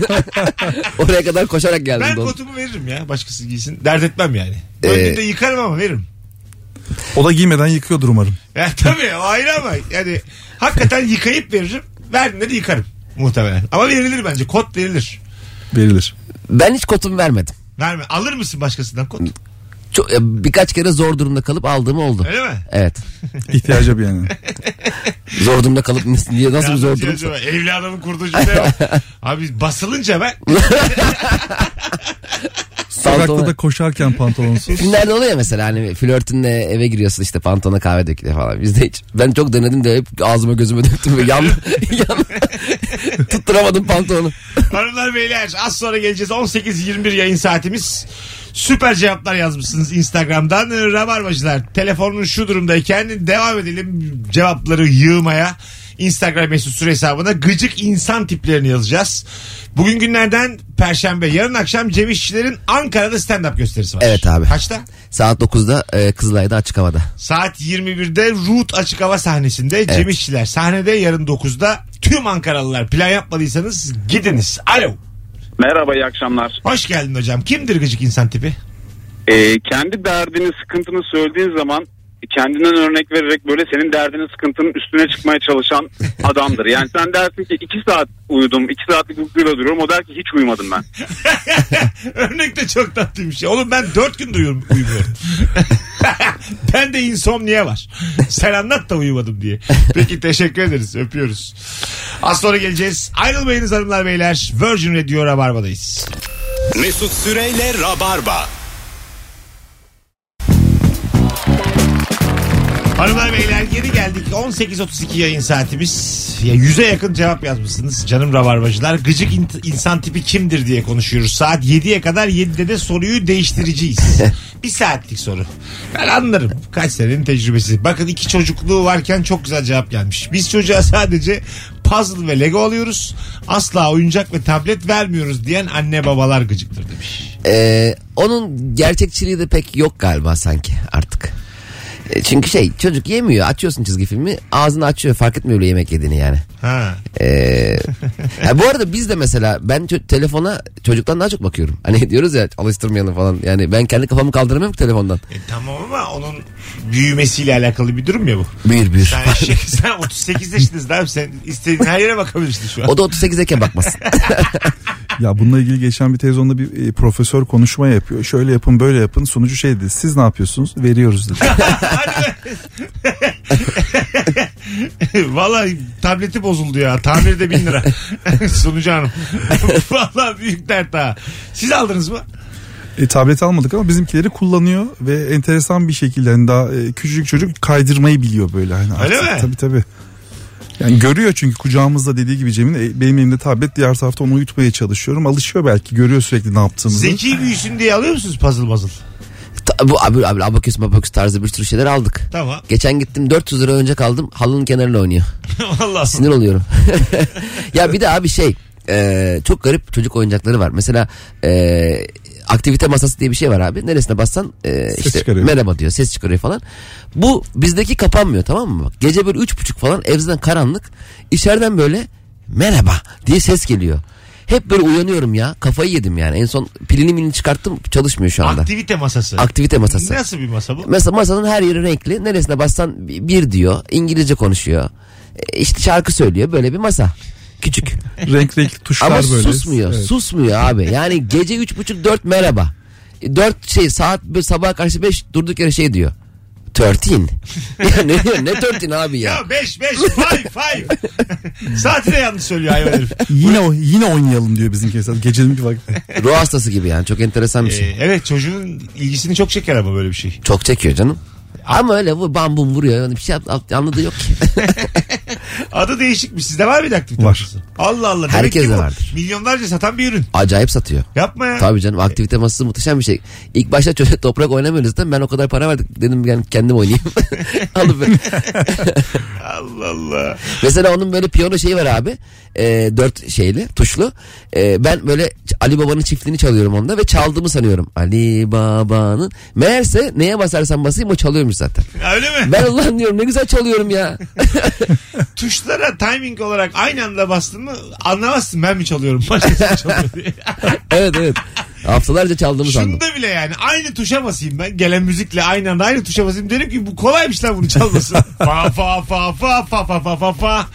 Speaker 3: *laughs* Oraya kadar koşarak geldim.
Speaker 2: Ben
Speaker 3: don. Ee,
Speaker 2: kotumu veririm ya. Başkası giysin. Dert etmem yani. Önünde yıkarım ama veririm.
Speaker 4: O da giymeden yıkıyordur umarım.
Speaker 2: Ya *laughs* tabii o ayrı ama yani hakikaten yıkayıp veririm. Verdiğinde de yıkarım muhtemelen. Ama verilir bence. Kot verilir.
Speaker 4: Verilir.
Speaker 3: Ben hiç kotumu vermedim.
Speaker 2: Verme. Alır mısın başkasından kot?
Speaker 3: Çok, ya birkaç kere zor durumda kalıp aldığım oldu.
Speaker 2: Öyle mi?
Speaker 3: Evet.
Speaker 4: İhtiyaca bir yani.
Speaker 3: Zor
Speaker 2: *laughs*
Speaker 3: durumda kalıp niye nasıl bir
Speaker 2: Yalnız
Speaker 3: zor
Speaker 2: şey
Speaker 3: durum?
Speaker 2: acaba, Evli adamın kurduğu cümle
Speaker 3: *laughs*
Speaker 2: yok. Abi basılınca ben
Speaker 4: Sokakta da *laughs* koşarken pantolonsuz.
Speaker 3: Günlerde oluyor ya mesela hani flörtünle eve giriyorsun işte pantolona kahve dökülüyor falan. Bizde hiç ben çok denedim de hep ağzıma gözüme döktüm ve yan, *laughs* yan tutturamadım pantolonu.
Speaker 2: hanımlar beyler az sonra geleceğiz. 18-21 yayın saatimiz. Süper cevaplar yazmışsınız Instagram'dan. Ee, Rabarbacılar telefonun şu durumdayken devam edelim cevapları yığmaya. Instagram mesut süre hesabına gıcık insan tiplerini yazacağız. Bugün günlerden Perşembe. Yarın akşam Cem İşçilerin Ankara'da stand-up gösterisi var.
Speaker 3: Evet abi.
Speaker 2: Kaçta?
Speaker 3: Saat 9'da e, Kızılay'da açık havada.
Speaker 2: Saat 21'de Root Açık Hava sahnesinde Cem İşçiler sahnede yarın 9'da tüm Ankaralılar plan yapmadıysanız gidiniz. Alo.
Speaker 7: Merhaba iyi akşamlar.
Speaker 2: Hoş geldin hocam. Kimdir gıcık insan tipi? *laughs*
Speaker 7: Ee, kendi derdini sıkıntını söylediğin zaman kendinden örnek vererek böyle senin derdinin sıkıntının üstüne çıkmaya çalışan
Speaker 9: *laughs*
Speaker 7: adamdır. Yani sen dersin ki iki saat uyudum, iki saatlik uykuyla duruyorum. O der ki hiç uyumadım ben.
Speaker 2: Örnek de çok tatlı bir şey. Oğlum ben 4 gün duyuyorum, uyumuyorum. *laughs* ben de insomnia var. Sen anlat da uyumadım diye. Peki teşekkür ederiz. Öpüyoruz. Az sonra geleceğiz. Ayrılmayınız hanımlar beyler. Virgin Radio Rabarba'dayız.
Speaker 1: Mesut Süreyle Rabarba.
Speaker 2: Hanımlar beyler geri geldik. 18.32 yayın saatimiz. Ya yüze yakın cevap yazmışsınız canım rabarbacılar. Gıcık in- insan tipi kimdir diye konuşuyoruz. Saat 7'ye kadar 7'de de soruyu değiştireceğiz. bir saatlik soru. Ben anlarım. Kaç senenin tecrübesi. Bakın iki çocukluğu varken çok güzel cevap gelmiş. Biz çocuğa sadece puzzle ve lego alıyoruz. Asla oyuncak ve tablet vermiyoruz diyen anne babalar gıcıktır demiş.
Speaker 3: E, onun gerçekçiliği de pek yok galiba sanki artık. E, Çünkü şey çocuk yemiyor açıyorsun çizgi filmi ağzını açıyor fark etmiyor bile yemek yediğini yani.
Speaker 2: Ha.
Speaker 3: Ee, ya bu arada biz de mesela ben çö- telefona çocuktan daha çok bakıyorum. Hani *laughs* diyoruz ya alıştırmayalım falan. Yani ben kendi kafamı kaldıramıyorum ki telefondan.
Speaker 2: E, tamam ama onun büyümesiyle alakalı bir durum ya bu.
Speaker 3: Büyür büyür.
Speaker 2: Sen, şey, *laughs* sen 38 yaşındasın abi sen istediğin her yere bakabilirsin şu an.
Speaker 3: O da 38'deyken bakmasın.
Speaker 4: Ya bununla ilgili geçen bir televizyonda bir e, profesör konuşma yapıyor. Şöyle yapın böyle yapın. Sunucu şey dedi. Siz ne yapıyorsunuz? Veriyoruz dedi.
Speaker 2: *laughs* Vallahi tableti bozuldu ya. Tamiri de 1000
Speaker 3: *laughs*
Speaker 2: lira. Sunucu hanım. *laughs* Vallahi büyük dert ha. Siz aldınız mı?
Speaker 4: E, tablet almadık ama bizimkileri kullanıyor ve enteresan bir şekilde hani daha e, küçücük çocuk kaydırmayı biliyor böyle. Hani
Speaker 2: Öyle
Speaker 4: artık.
Speaker 2: mi?
Speaker 4: Tabii tabii. Yani görüyor çünkü kucağımızda dediği gibi Cem'in e, benim elimde tablet diğer tarafta onu uyutmaya çalışıyorum. Alışıyor belki görüyor sürekli ne yaptığımızı.
Speaker 2: Zeki büyüsün diye alıyor musunuz puzzle puzzle?
Speaker 3: Ta- bu abi, abi abaküs mabaküs tarzı bir sürü şeyler aldık.
Speaker 2: Tamam. *laughs*
Speaker 3: Geçen gittim 400 lira önce kaldım halının kenarına oynuyor.
Speaker 2: Vallahi.
Speaker 3: Sinir oluyorum. *laughs* ya bir de abi şey e, çok garip çocuk oyuncakları var. Mesela e, aktivite masası diye bir şey var abi. Neresine bassan e, işte
Speaker 4: çıkarıyor.
Speaker 3: merhaba diyor ses çıkarıyor falan. Bu bizdeki kapanmıyor tamam mı? Bak, Gece böyle üç buçuk falan evden karanlık. içeriden böyle merhaba diye ses geliyor. Hep böyle uyanıyorum ya kafayı yedim yani. En son pilini milini çıkarttım çalışmıyor şu anda.
Speaker 2: Aktivite masası.
Speaker 3: aktivite masası.
Speaker 2: Nasıl bir masa bu?
Speaker 3: Mesela masanın her yeri renkli. Neresine bassan bi- bir diyor. İngilizce konuşuyor. E, İşte şarkı söylüyor. Böyle bir masa. Küçük.
Speaker 2: *laughs*
Speaker 4: Renk renk tuşlar
Speaker 3: Ama
Speaker 4: böyle.
Speaker 3: susmuyor.
Speaker 4: Evet.
Speaker 3: Susmuyor abi. Yani gece üç buçuk dört merhaba. E, Dört şey saat böyle sabaha karşı beş durduk yere şey diyor. Törtin. *laughs* ya ne diyor ne törtin abi ya.
Speaker 2: Ya 5 5 5
Speaker 3: *laughs*
Speaker 2: 5. Saatine yanlış söylüyor hayvan herif.
Speaker 4: Yine o- yine oynayalım diyor bizimki mesela. Gecenin
Speaker 2: *laughs*
Speaker 4: bir vakti.
Speaker 3: Ruh hastası gibi yani çok enteresan bir
Speaker 2: Ee,
Speaker 3: şey.
Speaker 2: evet çocuğun ilgisini çok çeker ama böyle bir şey.
Speaker 4: Ee,
Speaker 3: Çok çekiyor canım. Ama öyle bu bam bum vuruyor. Yani bir şey yap- anladığı yok ki. *laughs*
Speaker 2: Adı değişikmiş. Sizde var mıydı aktivite
Speaker 4: Var.
Speaker 2: masası? Allah Allah. Demek
Speaker 3: Herkes
Speaker 2: ki
Speaker 3: de
Speaker 2: bu
Speaker 3: vardır.
Speaker 2: Milyonlarca satan bir ürün.
Speaker 3: Acayip satıyor.
Speaker 2: Yapma ya.
Speaker 3: Tabii canım aktivite masası muhteşem bir şey. İlk başta *laughs* çocuğa toprak oynamıyoruz da ben o kadar para verdik dedim ben kendim oynayayım. *laughs* Alıp
Speaker 2: Allah Allah.
Speaker 3: Mesela onun böyle piyano şeyi var abi. Ee, dört şeyli tuşlu. Ee, ben böyle Ç- Ali Baba'nın çiftliğini çalıyorum onda ve çaldığımı sanıyorum. Ali Baba'nın. Meğerse neye basarsan basayım o çalıyormuş zaten.
Speaker 2: Öyle mi?
Speaker 3: Ben Allah'ım diyorum ne güzel çalıyorum ya. *laughs*
Speaker 2: Tuşlara timing olarak aynı anda bastın mı anlamazsın ben mi çalıyorum *laughs* başkası mı çalıyor diye.
Speaker 3: evet evet. Haftalarca çaldığımı sandım.
Speaker 2: Şunda bile yani aynı tuşa basayım ben gelen müzikle aynı anda aynı tuşa basayım derim ki bu kolaymış lan bunu çalması. fa fa fa fa fa fa fa fa fa.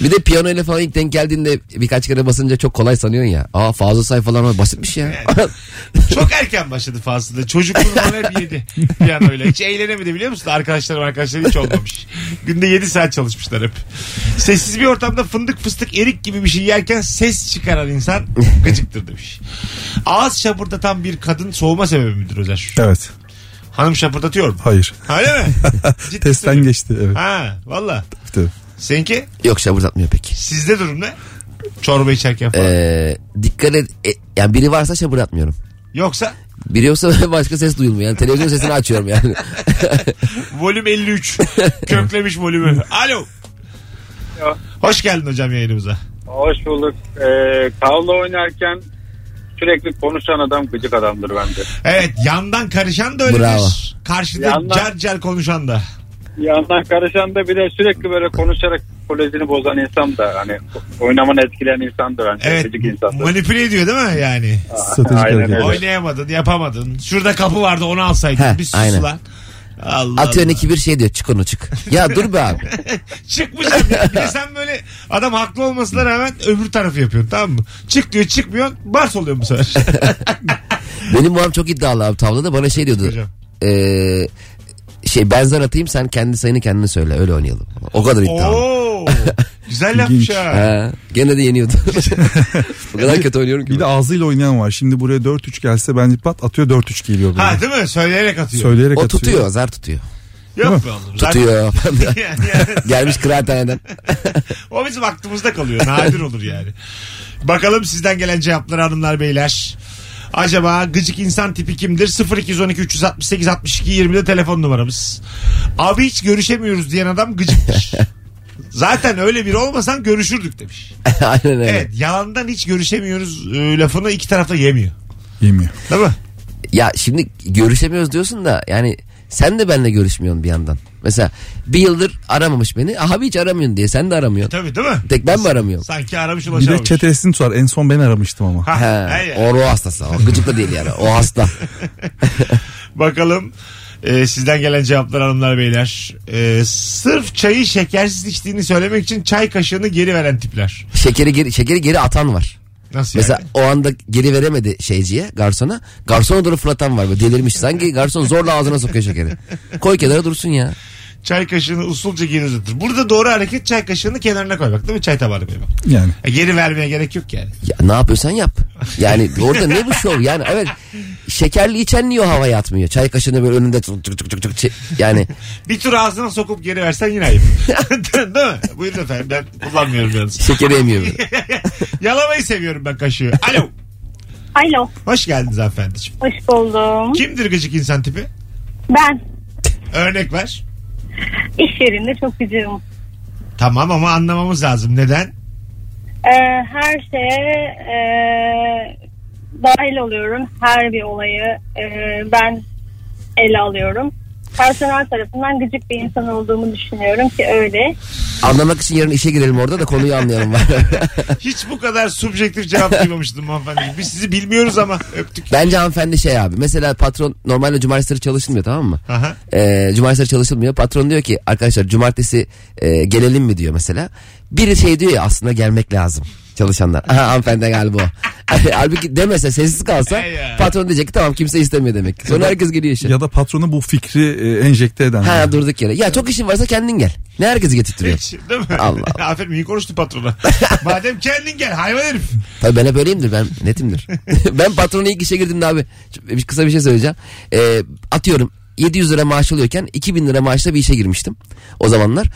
Speaker 3: Bir de piyano ile falan ilk denk geldiğinde birkaç kere basınca çok kolay sanıyorsun ya. Aa fazla sayfalar var basitmiş ya.
Speaker 2: Çok erken başladı fazla. Çocukluğum bana hep yedi. Bir an öyle. Hiç eğlenemedi biliyor musun? Arkadaşlarım arkadaşlarım hiç olmamış. Günde 7 saat çalışmışlar hep. Sessiz bir ortamda fındık fıstık erik gibi bir şey yerken ses çıkaran insan gıcıktır demiş. Ağız şapırdatan bir kadın soğuma sebebi midir Özer?
Speaker 4: Evet.
Speaker 2: Hanım şapırdatıyor mu?
Speaker 4: Hayır.
Speaker 2: Öyle mi? Ciddi
Speaker 4: Testten
Speaker 2: söylüyorum.
Speaker 4: geçti. Evet.
Speaker 2: Ha valla.
Speaker 4: Tabii.
Speaker 2: Seninki?
Speaker 3: *laughs* Yok şabırdatmıyor peki.
Speaker 2: Sizde durum ne? Çorba içerken falan.
Speaker 3: Ee, dikkat et. e, yani biri varsa şabırdatmıyorum.
Speaker 2: Yoksa
Speaker 3: Biri yoksa *laughs* başka ses duyulmuyor. Yani televizyon sesini
Speaker 2: *laughs*
Speaker 3: açıyorum yani.
Speaker 2: volüm
Speaker 3: *laughs*
Speaker 2: 53. Köklemiş volümü. Alo.
Speaker 9: Alo.
Speaker 2: Hoş geldin hocam yayınımıza.
Speaker 9: Hoş bulduk. Ee, tavla oynarken sürekli konuşan adam gıcık adamdır bence.
Speaker 2: Evet yandan karışan da öyledir.
Speaker 3: Bravo.
Speaker 2: Karşıda
Speaker 9: Yandan-
Speaker 2: car car konuşan da.
Speaker 9: Yandan karışan da bir de sürekli böyle konuşarak kolejini bozan insan da hani oynamanı etkileyen insandır bence.
Speaker 2: Evet
Speaker 9: Gıcık insandır.
Speaker 2: manipüle ediyor değil mi yani?
Speaker 4: Stratejik
Speaker 9: Aynen
Speaker 4: hareket.
Speaker 9: öyle. Evet.
Speaker 2: Oynayamadın yapamadın. Şurada kapı vardı onu alsaydın.
Speaker 3: Heh,
Speaker 2: Bir sus
Speaker 3: aynen.
Speaker 2: lan. Allah
Speaker 3: Atıyorsun
Speaker 2: Allah.
Speaker 3: iki bir şey diyor çık onu çık. Ya dur be abi.
Speaker 2: Çıkmayacağım ya. Bir de sen böyle adam haklı olmasına rağmen öbür tarafı yapıyorsun tamam mı? Çık diyor çıkmıyor. Bars oluyor bu sefer.
Speaker 3: *laughs* Benim babam çok iddialı abi tavlada bana şey diyordu.
Speaker 2: Hocam.
Speaker 3: Ee, şey ben zar atayım sen kendi sayını kendine söyle öyle oynayalım. O kadar iddialı.
Speaker 2: Oo. Güzel lafmış
Speaker 4: İlginç.
Speaker 2: ha.
Speaker 3: Ha, gene
Speaker 2: *laughs*
Speaker 3: de yeniyordu. o kadar kötü oynuyorum ki.
Speaker 4: Bir de ağzıyla oynayan var. Şimdi buraya 4-3 gelse bence pat atıyor 4-3 geliyor böyle.
Speaker 2: Ha değil mi? Söyleyerek atıyor.
Speaker 4: Söyleyerek
Speaker 3: o
Speaker 4: atıyor.
Speaker 3: tutuyor zar tutuyor.
Speaker 2: Yok be oğlum. Zaten-
Speaker 3: Tutuyor. *laughs*
Speaker 2: *laughs* Yani- yani-
Speaker 3: Gelmiş kıraathaneden. *laughs*
Speaker 2: O bizim aklımızda kalıyor. Nadir olur yani. Bakalım sizden gelen cevapları hanımlar beyler. Acaba gıcık insan tipi kimdir? 0212 368 62 20'de telefon numaramız. Abi hiç görüşemiyoruz diyen adam gıcıktır. Zaten öyle biri olmasan görüşürdük demiş.
Speaker 3: Aynen öyle.
Speaker 2: Evet, yalandan hiç görüşemiyoruz e, lafını iki tarafta yemiyor.
Speaker 4: Yemiyor.
Speaker 2: Değil mi?
Speaker 3: Ya şimdi görüşemiyoruz diyorsun da yani sen de benimle görüşmüyorsun bir yandan. Mesela bir yıldır aramamış beni. Abi hiç aramıyorsun diye sen de aramıyorsun.
Speaker 2: E, Tabii değil mi?
Speaker 3: Tek ben mi aramıyorum?
Speaker 2: Sanki aramış
Speaker 4: Bir de
Speaker 2: ulaşamamış.
Speaker 4: çetesini tutar. En son ben aramıştım ama.
Speaker 2: Ha,
Speaker 3: He,
Speaker 2: hayır.
Speaker 3: o ruh hastası. O gıcık da değil yani.
Speaker 2: *laughs*
Speaker 3: O hasta.
Speaker 2: Bakalım e, sizden gelen cevaplar hanımlar beyler. E, sırf çayı şekersiz içtiğini söylemek için çay kaşığını geri veren tipler.
Speaker 3: Şekeri geri, şekeri geri atan var.
Speaker 2: Nasıl
Speaker 3: Mesela
Speaker 2: yani?
Speaker 3: o anda geri veremedi şeyciye garsona. Garsona doğru fırlatan var. Böyle delirmiş. Sanki garson zorla ağzına sokuyor şekeri. Koy kenara dursun ya.
Speaker 2: Çay kaşığını usulca geri uzatır. Burada doğru hareket çay kaşığını kenarına koymak değil mi? Çay tabağına koymak.
Speaker 4: Yani.
Speaker 2: E, geri vermeye gerek yok yani.
Speaker 3: ya. Ne yapıyorsan yap. Yani orada ne bu şov? Yani evet şekerli içen niye o havaya atmıyor? Çay kaşığını böyle önünde tık tık tık tık tık. çe- Yani
Speaker 2: Bir tur ağzına sokup geri versen yine ayıp. değil mi? Buyurun efendim ben kullanmıyorum yalnız. *laughs*
Speaker 3: şekeri emiyor böyle.
Speaker 2: Yalamayı seviyorum ben kaşığı. Alo.
Speaker 10: Alo,
Speaker 2: Hoş geldiniz hanımefendiciğim.
Speaker 10: hoş buldum.
Speaker 2: Kimdir gıcık insan tipi?
Speaker 10: Ben
Speaker 2: Örnek ver.
Speaker 10: iş yerinde çok gücüm.
Speaker 2: Tamam ama anlamamız lazım. Neden?
Speaker 10: Ee, her şeye e, dahil oluyorum. Her bir olayı e, ben ele alıyorum. Personel tarafından gıcık bir insan olduğumu düşünüyorum ki öyle.
Speaker 3: Anlamak için yarın işe girelim orada da konuyu anlayalım. *laughs*
Speaker 2: Hiç bu kadar subjektif cevap duymamıştım hanımefendi. Biz sizi bilmiyoruz ama öptük.
Speaker 3: Bence hanımefendi şey abi. Mesela patron normalde cumartesileri çalışılmıyor tamam mı?
Speaker 2: Aha.
Speaker 3: Ee, cumartesileri çalışılmıyor. Patron diyor ki arkadaşlar cumartesi e, gelelim mi diyor mesela. Biri şey diyor ya aslında gelmek lazım çalışanlar. Aha hanımefendi galiba o. *laughs* Halbuki demese sessiz kalsa patron diyecek ki tamam kimse istemiyor demek. Sonra herkes geliyor
Speaker 2: şey.
Speaker 3: işe.
Speaker 4: Ya da patronu bu fikri e, enjekte eden.
Speaker 3: Ha durduk yere. Ya çok işin varsa kendin gel. Ne herkesi getirtiyor.
Speaker 2: Hiç, değil mi?
Speaker 3: Allah
Speaker 2: *laughs* Aferin iyi konuştu patrona. Madem kendin gel hayvan herif.
Speaker 3: Tabii ben hep öyleyimdir ben netimdir. *laughs* ben patrona ilk işe girdiğimde abi bir- kısa bir şey söyleyeceğim. Ee, atıyorum 700 lira maaş alıyorken 2000 lira maaşla bir işe girmiştim o zamanlar.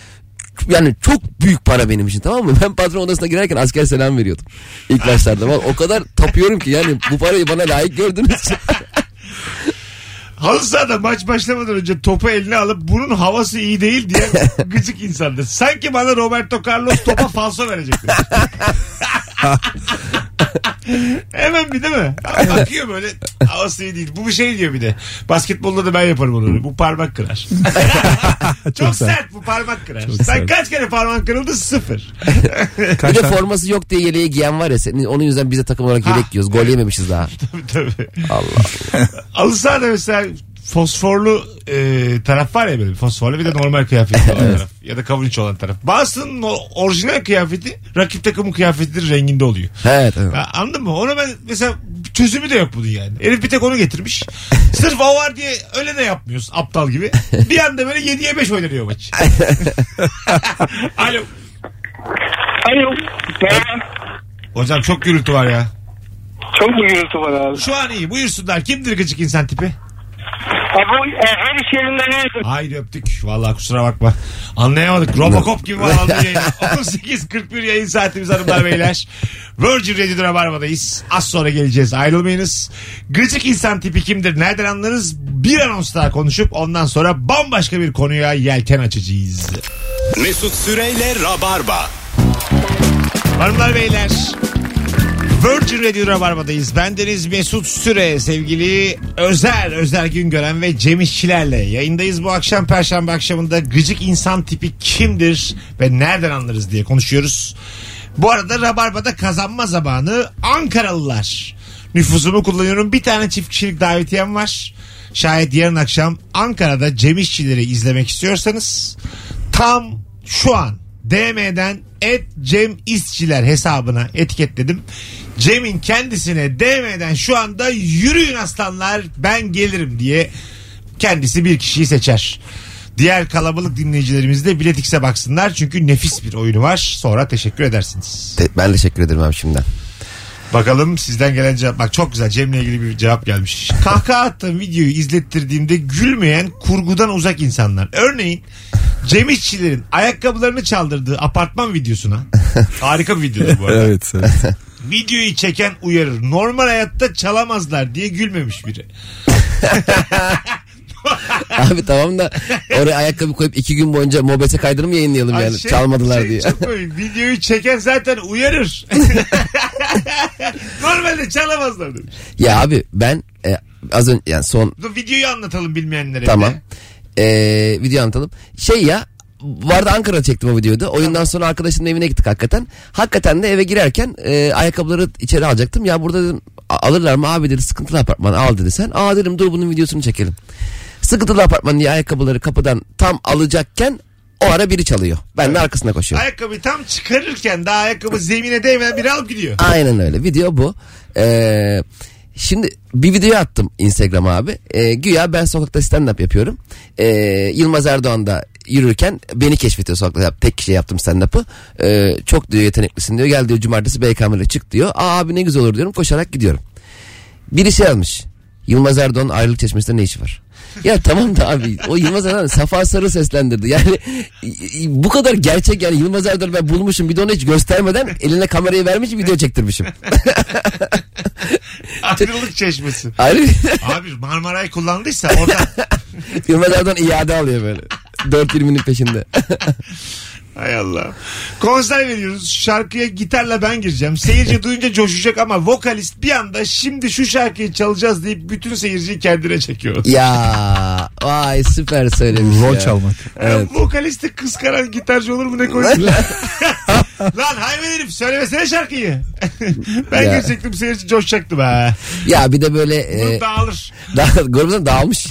Speaker 3: Yani çok büyük para benim için tamam mı? Ben patron odasına girerken asker selam veriyordum. İlk başlarda. Vallahi o kadar tapıyorum ki yani bu parayı bana layık gördünüz.
Speaker 2: Halı sahada maç başlamadan önce topu eline alıp bunun havası iyi değil *laughs* diye gıcık insandır. Sanki bana Roberto Carlos topa falso *laughs* verecekti. Hemen bir değil mi? Bakıyor böyle havası iyi değil. Bu bir şey diyor bir de. Basketbolda da ben yaparım onu. Bu parmak kırar. *laughs* Çok, sert bu parmak kırar. Sen
Speaker 4: sert.
Speaker 2: kaç kere parmağın kırıldı? *laughs* Sıfır.
Speaker 4: Kaç
Speaker 3: bir de
Speaker 4: tane-
Speaker 3: forması yok diye yeleği giyen var ya senin, onun yüzden bize takım olarak
Speaker 2: Ha.
Speaker 3: yelek giyiyoruz. Gol yememişiz daha.
Speaker 2: Tabii, tabii.
Speaker 3: Allah.
Speaker 2: *laughs* Halı sahada mesela fosforlu e, taraf var ya böyle fosforlu bir de normal kıyafetli
Speaker 3: *laughs*
Speaker 2: olan taraf ya da kavunç olan taraf. Bazısının o orijinal kıyafeti rakip takımın kıyafetinin renginde oluyor.
Speaker 3: Evet. evet.
Speaker 2: Ya, anladın mı? Ona ben mesela çözümü de yok bunun yani. Elif bir tek onu getirmiş. *laughs* Sırf o var diye öyle de yapmıyoruz aptal gibi. Bir anda böyle 7'ye 5 oynanıyor maç. Alo.
Speaker 9: Alo.
Speaker 2: Hocam çok gürültü var ya.
Speaker 9: Çok mu gürültü var abi?
Speaker 2: Şu an iyi. Buyursunlar. Kimdir gıcık insan tipi?
Speaker 9: bu e, her iş yerinde
Speaker 2: *laughs*
Speaker 9: ne
Speaker 2: Haydi öptük. Vallahi kusura bakma. Anlayamadık. Robocop gibi bağlandı yayın. 18.41 yayın saatimiz hanımlar beyler. Virgin Radio'da Rabarba'dayız. Az sonra geleceğiz. Ayrılmayınız. Gıcık insan tipi kimdir? Nereden anlarız? Bir anons daha konuşup ondan sonra bambaşka bir konuya yelken açacağız.
Speaker 1: Mesut Süreyle Rabarba.
Speaker 2: Hanımlar beyler. Virgin Radio Rabarba'dayız. Bendeniz Mesut Süre, sevgili Özel, Özel Güngören ve Cem İşçilerle yayındayız. Bu akşam Perşembe akşamında gıcık insan tipi kimdir ve nereden anlarız diye konuşuyoruz. Bu arada Rabarba'da kazanma zamanı Ankaralılar. Nüfuzumu kullanıyorum. Bir tane çift kişilik davetiyem var. Şayet yarın akşam Ankara'da Cem İşçileri izlemek istiyorsanız tam şu an DM'den et Cem İşçiler hesabına etiketledim. Cem'in kendisine DM'den şu anda yürüyün aslanlar ben gelirim diye kendisi bir kişiyi seçer. Diğer kalabalık dinleyicilerimiz de biletikse baksınlar çünkü nefis bir oyunu var. Sonra teşekkür edersiniz.
Speaker 3: Te- Ben teşekkür ederim abi şimdiden.
Speaker 2: Bakalım sizden gelen cevap. Bak çok güzel Cem'le ilgili bir cevap gelmiş. Kahkaha attığım videoyu izlettirdiğimde gülmeyen kurgudan uzak insanlar. Örneğin Cem İşçilerin ayakkabılarını çaldırdığı apartman
Speaker 3: *laughs*
Speaker 2: videosuna. Harika bir videodur bu arada.
Speaker 4: Evet, *laughs* evet.
Speaker 2: Videoyu çeken uyarır. Normal hayatta çalamazlar diye gülmemiş biri.
Speaker 3: *laughs* Abi tamam da oraya ayakkabı koyup iki gün boyunca mobese kaydını mı yayınlayalım
Speaker 2: Ay
Speaker 3: yani
Speaker 2: şey-
Speaker 3: çalmadılar
Speaker 2: şey
Speaker 3: diye.
Speaker 2: çok komik. Videoyu çeken zaten
Speaker 3: *laughs*
Speaker 2: uyarır. Normalde çalamazlar demiş.
Speaker 3: ya abi ben e, az önce yani son
Speaker 2: Dur, videoyu anlatalım bilmeyenlere.
Speaker 3: tamam
Speaker 2: bir de.
Speaker 3: Ee, video anlatalım. Şey ya vardı Ankara'da çektim o videoda. Oyundan sonra arkadaşımın evine gittik hakikaten. Hakikaten de eve girerken e, ayakkabıları içeri alacaktım. Ya burada dedim "A- alırlar mı abi dedi sıkıntılı apartman al dedi sen. Aa dedim dur bunun videosunu çekelim. Sıkıntılı apartman diye ayakkabıları kapıdan tam alacakken o ara biri çalıyor. Ben de arkasına koşuyorum.
Speaker 2: *laughs* Ayakkabıyı tam çıkarırken daha ayakkabı zemine değmeden biri alıp gidiyor.
Speaker 3: Aynen öyle. Video bu. Ee, şimdi bir video attım Instagram'a abi. Ee, güya ben sokakta stand-up yapıyorum. Ee, Yılmaz Erdoğan da yürürken beni keşfetiyor sokakta. Yap- Tek kişiye yaptım stand-up'ı. Ee, çok diyor yeteneklisin diyor. Gel diyor cumartesi BKM'le çık diyor. Aa abi ne güzel olur diyorum. Koşarak gidiyorum. Biri şey almış. Yılmaz Erdoğan ayrılık çeşmesinde ne işi var? Ya tamam da abi o Yılmaz Erdoğan Safa Sarı seslendirdi. Yani i- i- bu kadar gerçek yani Yılmaz Erdoğan'ı ben bulmuşum bir de onu hiç göstermeden eline kamerayı vermiş video çektirmişim.
Speaker 2: Ayrılık çeşmesi.
Speaker 3: Ayrı *laughs*
Speaker 2: Abi Marmaray kullandıysa oradan.
Speaker 3: Yılmaz Erdoğan iade alıyor böyle. 4.20'nin peşinde.
Speaker 2: Hay Allah. Konser veriyoruz. Şarkıya gitarla ben gireceğim. Seyirci duyunca coşacak ama vokalist bir anda şimdi şu şarkıyı çalacağız deyip bütün seyirciyi kendine çekiyor.
Speaker 3: *laughs* ya vay süper söylemiş
Speaker 4: Rol
Speaker 3: ya.
Speaker 4: çalmak.
Speaker 2: Ya, Vokalisti
Speaker 3: *laughs*
Speaker 2: kıskaran gitarcı olur mu ne koysun? Lan hayvan herif söylemesene şarkıyı. *laughs* ben
Speaker 3: Ya. Ee,
Speaker 2: girecektim senin için coşacaktım ha.
Speaker 3: *laughs* Ya bir de böyle e,
Speaker 2: Grup dağılır. *laughs*
Speaker 3: da, grubundan dağılmış.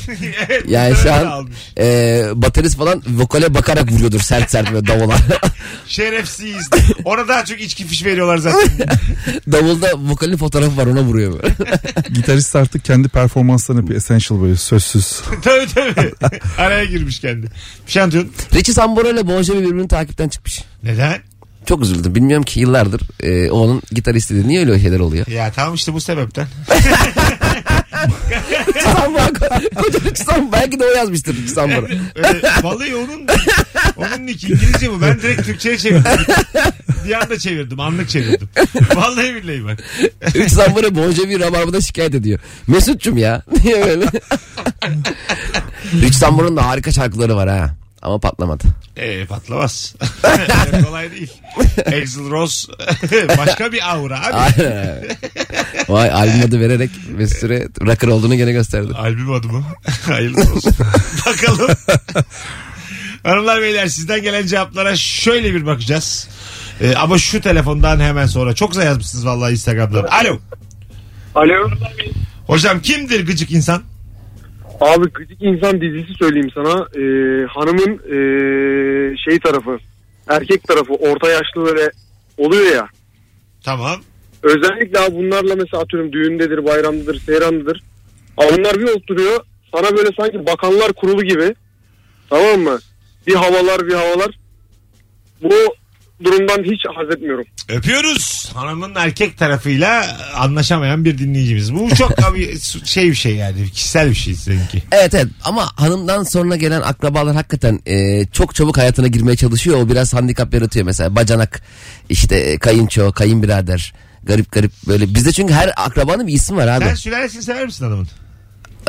Speaker 2: Evet,
Speaker 3: Yani
Speaker 2: muhtemelen
Speaker 3: şu an
Speaker 2: dağılmış.
Speaker 3: e, baterist falan vokale bakarak vuruyordur sert sert böyle davula. *laughs*
Speaker 2: Şerefsiz. Ona daha çok içki fiş veriyorlar zaten.
Speaker 3: Davulda vokalin fotoğrafı var ona vuruyor böyle. *laughs*
Speaker 4: Gitarist artık kendi performanslarını bir essential böyle sözsüz.
Speaker 2: tabii tabii. Araya girmiş kendi. Bir şey anlatıyordun.
Speaker 3: Richie Sambora ile Bon Jovi birbirinin takipten çıkmış.
Speaker 2: Neden?
Speaker 3: Çok üzüldüm. Bilmiyorum ki yıllardır e, o onun gitaristiydi. Niye öyle şeyler
Speaker 4: *laughs*
Speaker 3: oluyor?
Speaker 2: Ya tamam işte bu sebepten.
Speaker 3: Richie Sambora. ko- Koca Richie Sambora. Belki de o yazmıştır Richie Sambora.
Speaker 2: Öyle, vallahi onun onun nick İngilizce bu. Ben direkt Türkçe'ye çevirdim. Bir anda çevirdim. Anlık çevirdim. Vallahi billahi bak.
Speaker 3: Richie Sambora Bon Jovi rabarbada şikayet ediyor. Mesut'cum ya. *laughs* Niye böyle? Richie Sambora'nın da harika şarkıları var ha. Ama patlamadı.
Speaker 2: Ee, patlamaz. *laughs* Öyle kolay değil. Axl Rose *laughs* başka bir aura abi.
Speaker 3: Aynen. Vay albüm adı vererek Mesut Süre rocker olduğunu gene gösterdi.
Speaker 2: Albüm adı mı? *laughs* Hayırlısı olsun. Bakalım. Hanımlar beyler sizden gelen cevaplara şöyle bir bakacağız. Ee, ama şu telefondan hemen sonra. Çok güzel yazmışsınız vallahi Instagram'dan. Alo.
Speaker 9: Alo.
Speaker 2: Hocam kimdir gıcık insan?
Speaker 9: Abi Gıcık İnsan dizisi söyleyeyim sana. Ee, hanımın ee, şey tarafı, erkek tarafı orta yaşlı böyle oluyor ya.
Speaker 2: Tamam.
Speaker 9: Özellikle abi bunlarla mesela atıyorum düğündedir, bayramdadır, seyrandadır. Abi bunlar bir oturuyor. Sana böyle sanki bakanlar kurulu gibi. Tamam mı? Bir havalar bir havalar. Bu durumdan hiç haz etmiyorum.
Speaker 2: Öpüyoruz. Hanımın erkek tarafıyla anlaşamayan bir dinleyicimiz. Bu çok abi şey bir *laughs* şey yani. Kişisel bir şey seninki.
Speaker 3: Evet evet ama hanımdan sonra gelen akrabalar hakikaten e, çok çabuk hayatına girmeye çalışıyor. O biraz handikap yaratıyor mesela bacanak işte e, kayınço kayınbirader garip garip böyle. Bizde çünkü her akrabanın bir ismi var abi.
Speaker 2: Sen sülalesini sever misin hanımın?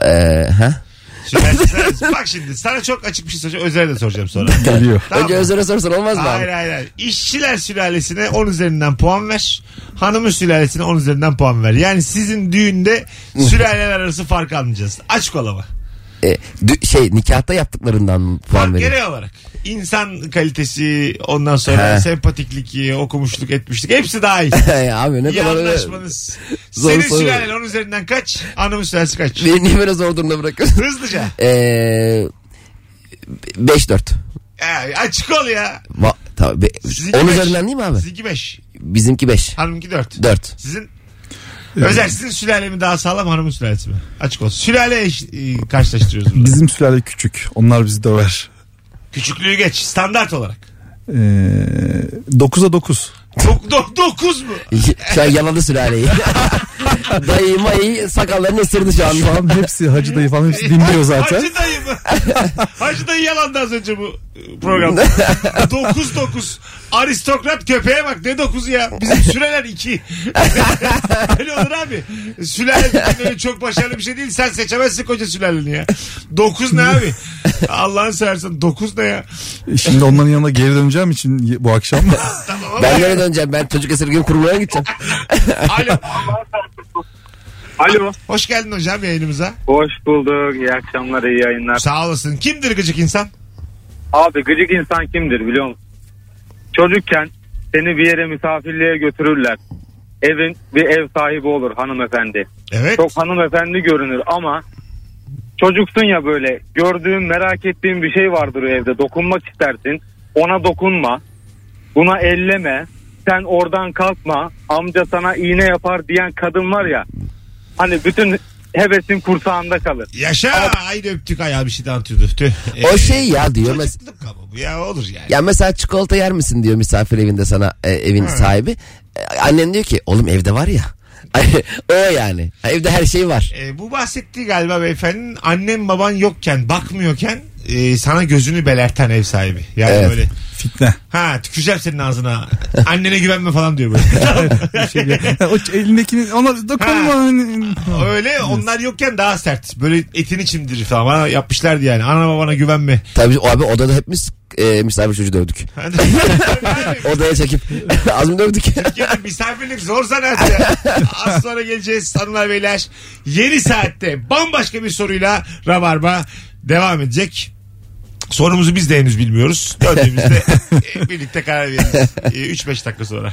Speaker 3: Ee, ha?
Speaker 2: Sülalesini sever misin? Bak şimdi sana çok açık bir şey soracağım. Özer'e de soracağım sonra.
Speaker 4: Geliyor.
Speaker 2: Tamam.
Speaker 3: Önce Özer'e sorsan olmaz mı
Speaker 2: Hayır
Speaker 3: abi?
Speaker 2: hayır hayır. İşçiler sülalesine 10 üzerinden puan ver. Hanımın sülalesine 10 üzerinden puan ver. Yani sizin
Speaker 3: *laughs*
Speaker 2: düğünde sülaleler arası fark almayacağız. Açık olama.
Speaker 3: E, dü- şey nikahta yaptıklarından puan
Speaker 2: Fark
Speaker 3: veriyor.
Speaker 2: genel olarak. İnsan kalitesi ondan sonra
Speaker 3: He.
Speaker 2: sempatiklik, okumuşluk, etmişlik hepsi dahil.
Speaker 3: abi *laughs* ne
Speaker 2: İyi
Speaker 3: kadar öyle.
Speaker 2: anlaşmanız.
Speaker 3: Zor
Speaker 2: Senin
Speaker 3: soru.
Speaker 2: sülalen 10 üzerinden kaç? Hanımın sülalesi kaç?
Speaker 3: Beni niye böyle zor durumda bırakıyorsun?
Speaker 2: Hızlıca.
Speaker 3: Ee, 5-4.
Speaker 2: Ee, açık ol ya.
Speaker 3: Va- tabii, be-
Speaker 2: Sizinki
Speaker 3: on
Speaker 2: beş.
Speaker 3: üzerinden değil mi abi?
Speaker 2: Sizinki 5.
Speaker 3: Bizimki 5.
Speaker 2: Hanımki 4.
Speaker 3: 4.
Speaker 2: Sizin *laughs* Özel sizin sülale mi daha sağlam hanımın sülalesi mi? Açık olsun. Sülale eş, e, karşılaştırıyoruz burada.
Speaker 4: Bizim sülale küçük. Onlar bizi döver.
Speaker 2: Küçüklüğü geç standart olarak.
Speaker 4: Ee, 9'a 9.
Speaker 2: Dok, dok, dokuz mu?
Speaker 3: *laughs* Şu an yalanı sülaleyi. *laughs* Dayı mayı sakallarını ısırdı şu
Speaker 4: Şu
Speaker 3: anda.
Speaker 4: an hepsi Hacı dayı falan hepsi dinliyor zaten.
Speaker 2: Hacı dayı
Speaker 4: *laughs*
Speaker 2: mı? Hacı dayı yalandı az önce bu e,
Speaker 4: *laughs*
Speaker 2: programda. dokuz dokuz. Aristokrat köpeğe bak ne dokuzu ya. Bizim süreler
Speaker 4: *laughs*
Speaker 2: iki. Öyle olur abi. Sülale dediğin öyle çok başarılı bir şey değil. Sen seçemezsin koca sülaleni ya. Dokuz ne abi? Allah'ını seversen dokuz ne ya?
Speaker 4: Şimdi onların yanına geri döneceğim için
Speaker 2: *laughs*
Speaker 4: bu akşam.
Speaker 2: Tamam ama.
Speaker 3: Ben geri döneceğim. Ben çocuk esirgeme kurumuna gideceğim.
Speaker 2: Alo.
Speaker 9: Alo.
Speaker 2: Hoş geldin hocam yayınımıza.
Speaker 9: Hoş bulduk. İyi akşamlar, iyi yayınlar.
Speaker 2: Sağ olasın. Kimdir gıcık insan?
Speaker 9: Abi gıcık insan kimdir biliyor musun? Çocukken seni bir yere misafirliğe götürürler. Evin bir ev sahibi olur hanımefendi.
Speaker 2: Evet.
Speaker 9: Çok hanımefendi görünür ama çocuksun ya böyle gördüğün merak ettiğin bir şey vardır o evde dokunmak istersin. Ona dokunma. Buna elleme. Sen oradan kalkma. Amca sana iğne yapar diyen kadın var ya. Hani bütün hevesin kursağında kalır.
Speaker 2: Yaşa. Haydi öptük ayağı bir şey daha atıyordu. Tüh.
Speaker 3: O şey ya diyor. mes-
Speaker 2: Çocukluk ama bu ya olur yani.
Speaker 3: ya mesela çikolata yer misin diyor misafir evinde sana e, evin sahibi. E, annen diyor ki oğlum evde var ya. *laughs* o yani. Evde her şey var.
Speaker 2: E, bu bahsettiği galiba beyefendinin annem baban yokken bakmıyorken e, sana gözünü belerten ev sahibi. Yani
Speaker 3: Evet.
Speaker 2: böyle
Speaker 4: Fitne.
Speaker 2: ha tüküreceğim senin ağzına. Annene güvenme falan diyor
Speaker 4: *laughs*
Speaker 2: böyle.
Speaker 4: Şey diyor. o elindekini ona dokunma. Hani
Speaker 2: Öyle onlar yokken daha sert. Böyle etini çimdirir falan. Bana yapmışlardı yani. Ana babana güvenme. *laughs*
Speaker 3: Tabii o abi odada hepimiz e, misafir çocuğu dövdük.
Speaker 4: *laughs*
Speaker 3: Odaya çekip *laughs* az mı dövdük?
Speaker 2: Ya misafirlik zor zanaat ya. Az sonra geleceğiz hanımlar beyler. Yeni saatte bambaşka bir soruyla Rabarba devam edecek. Sorumuzu biz de henüz bilmiyoruz. Döndüğümüzde e, birlikte karar veririz. 3-5 E, dakika sonra.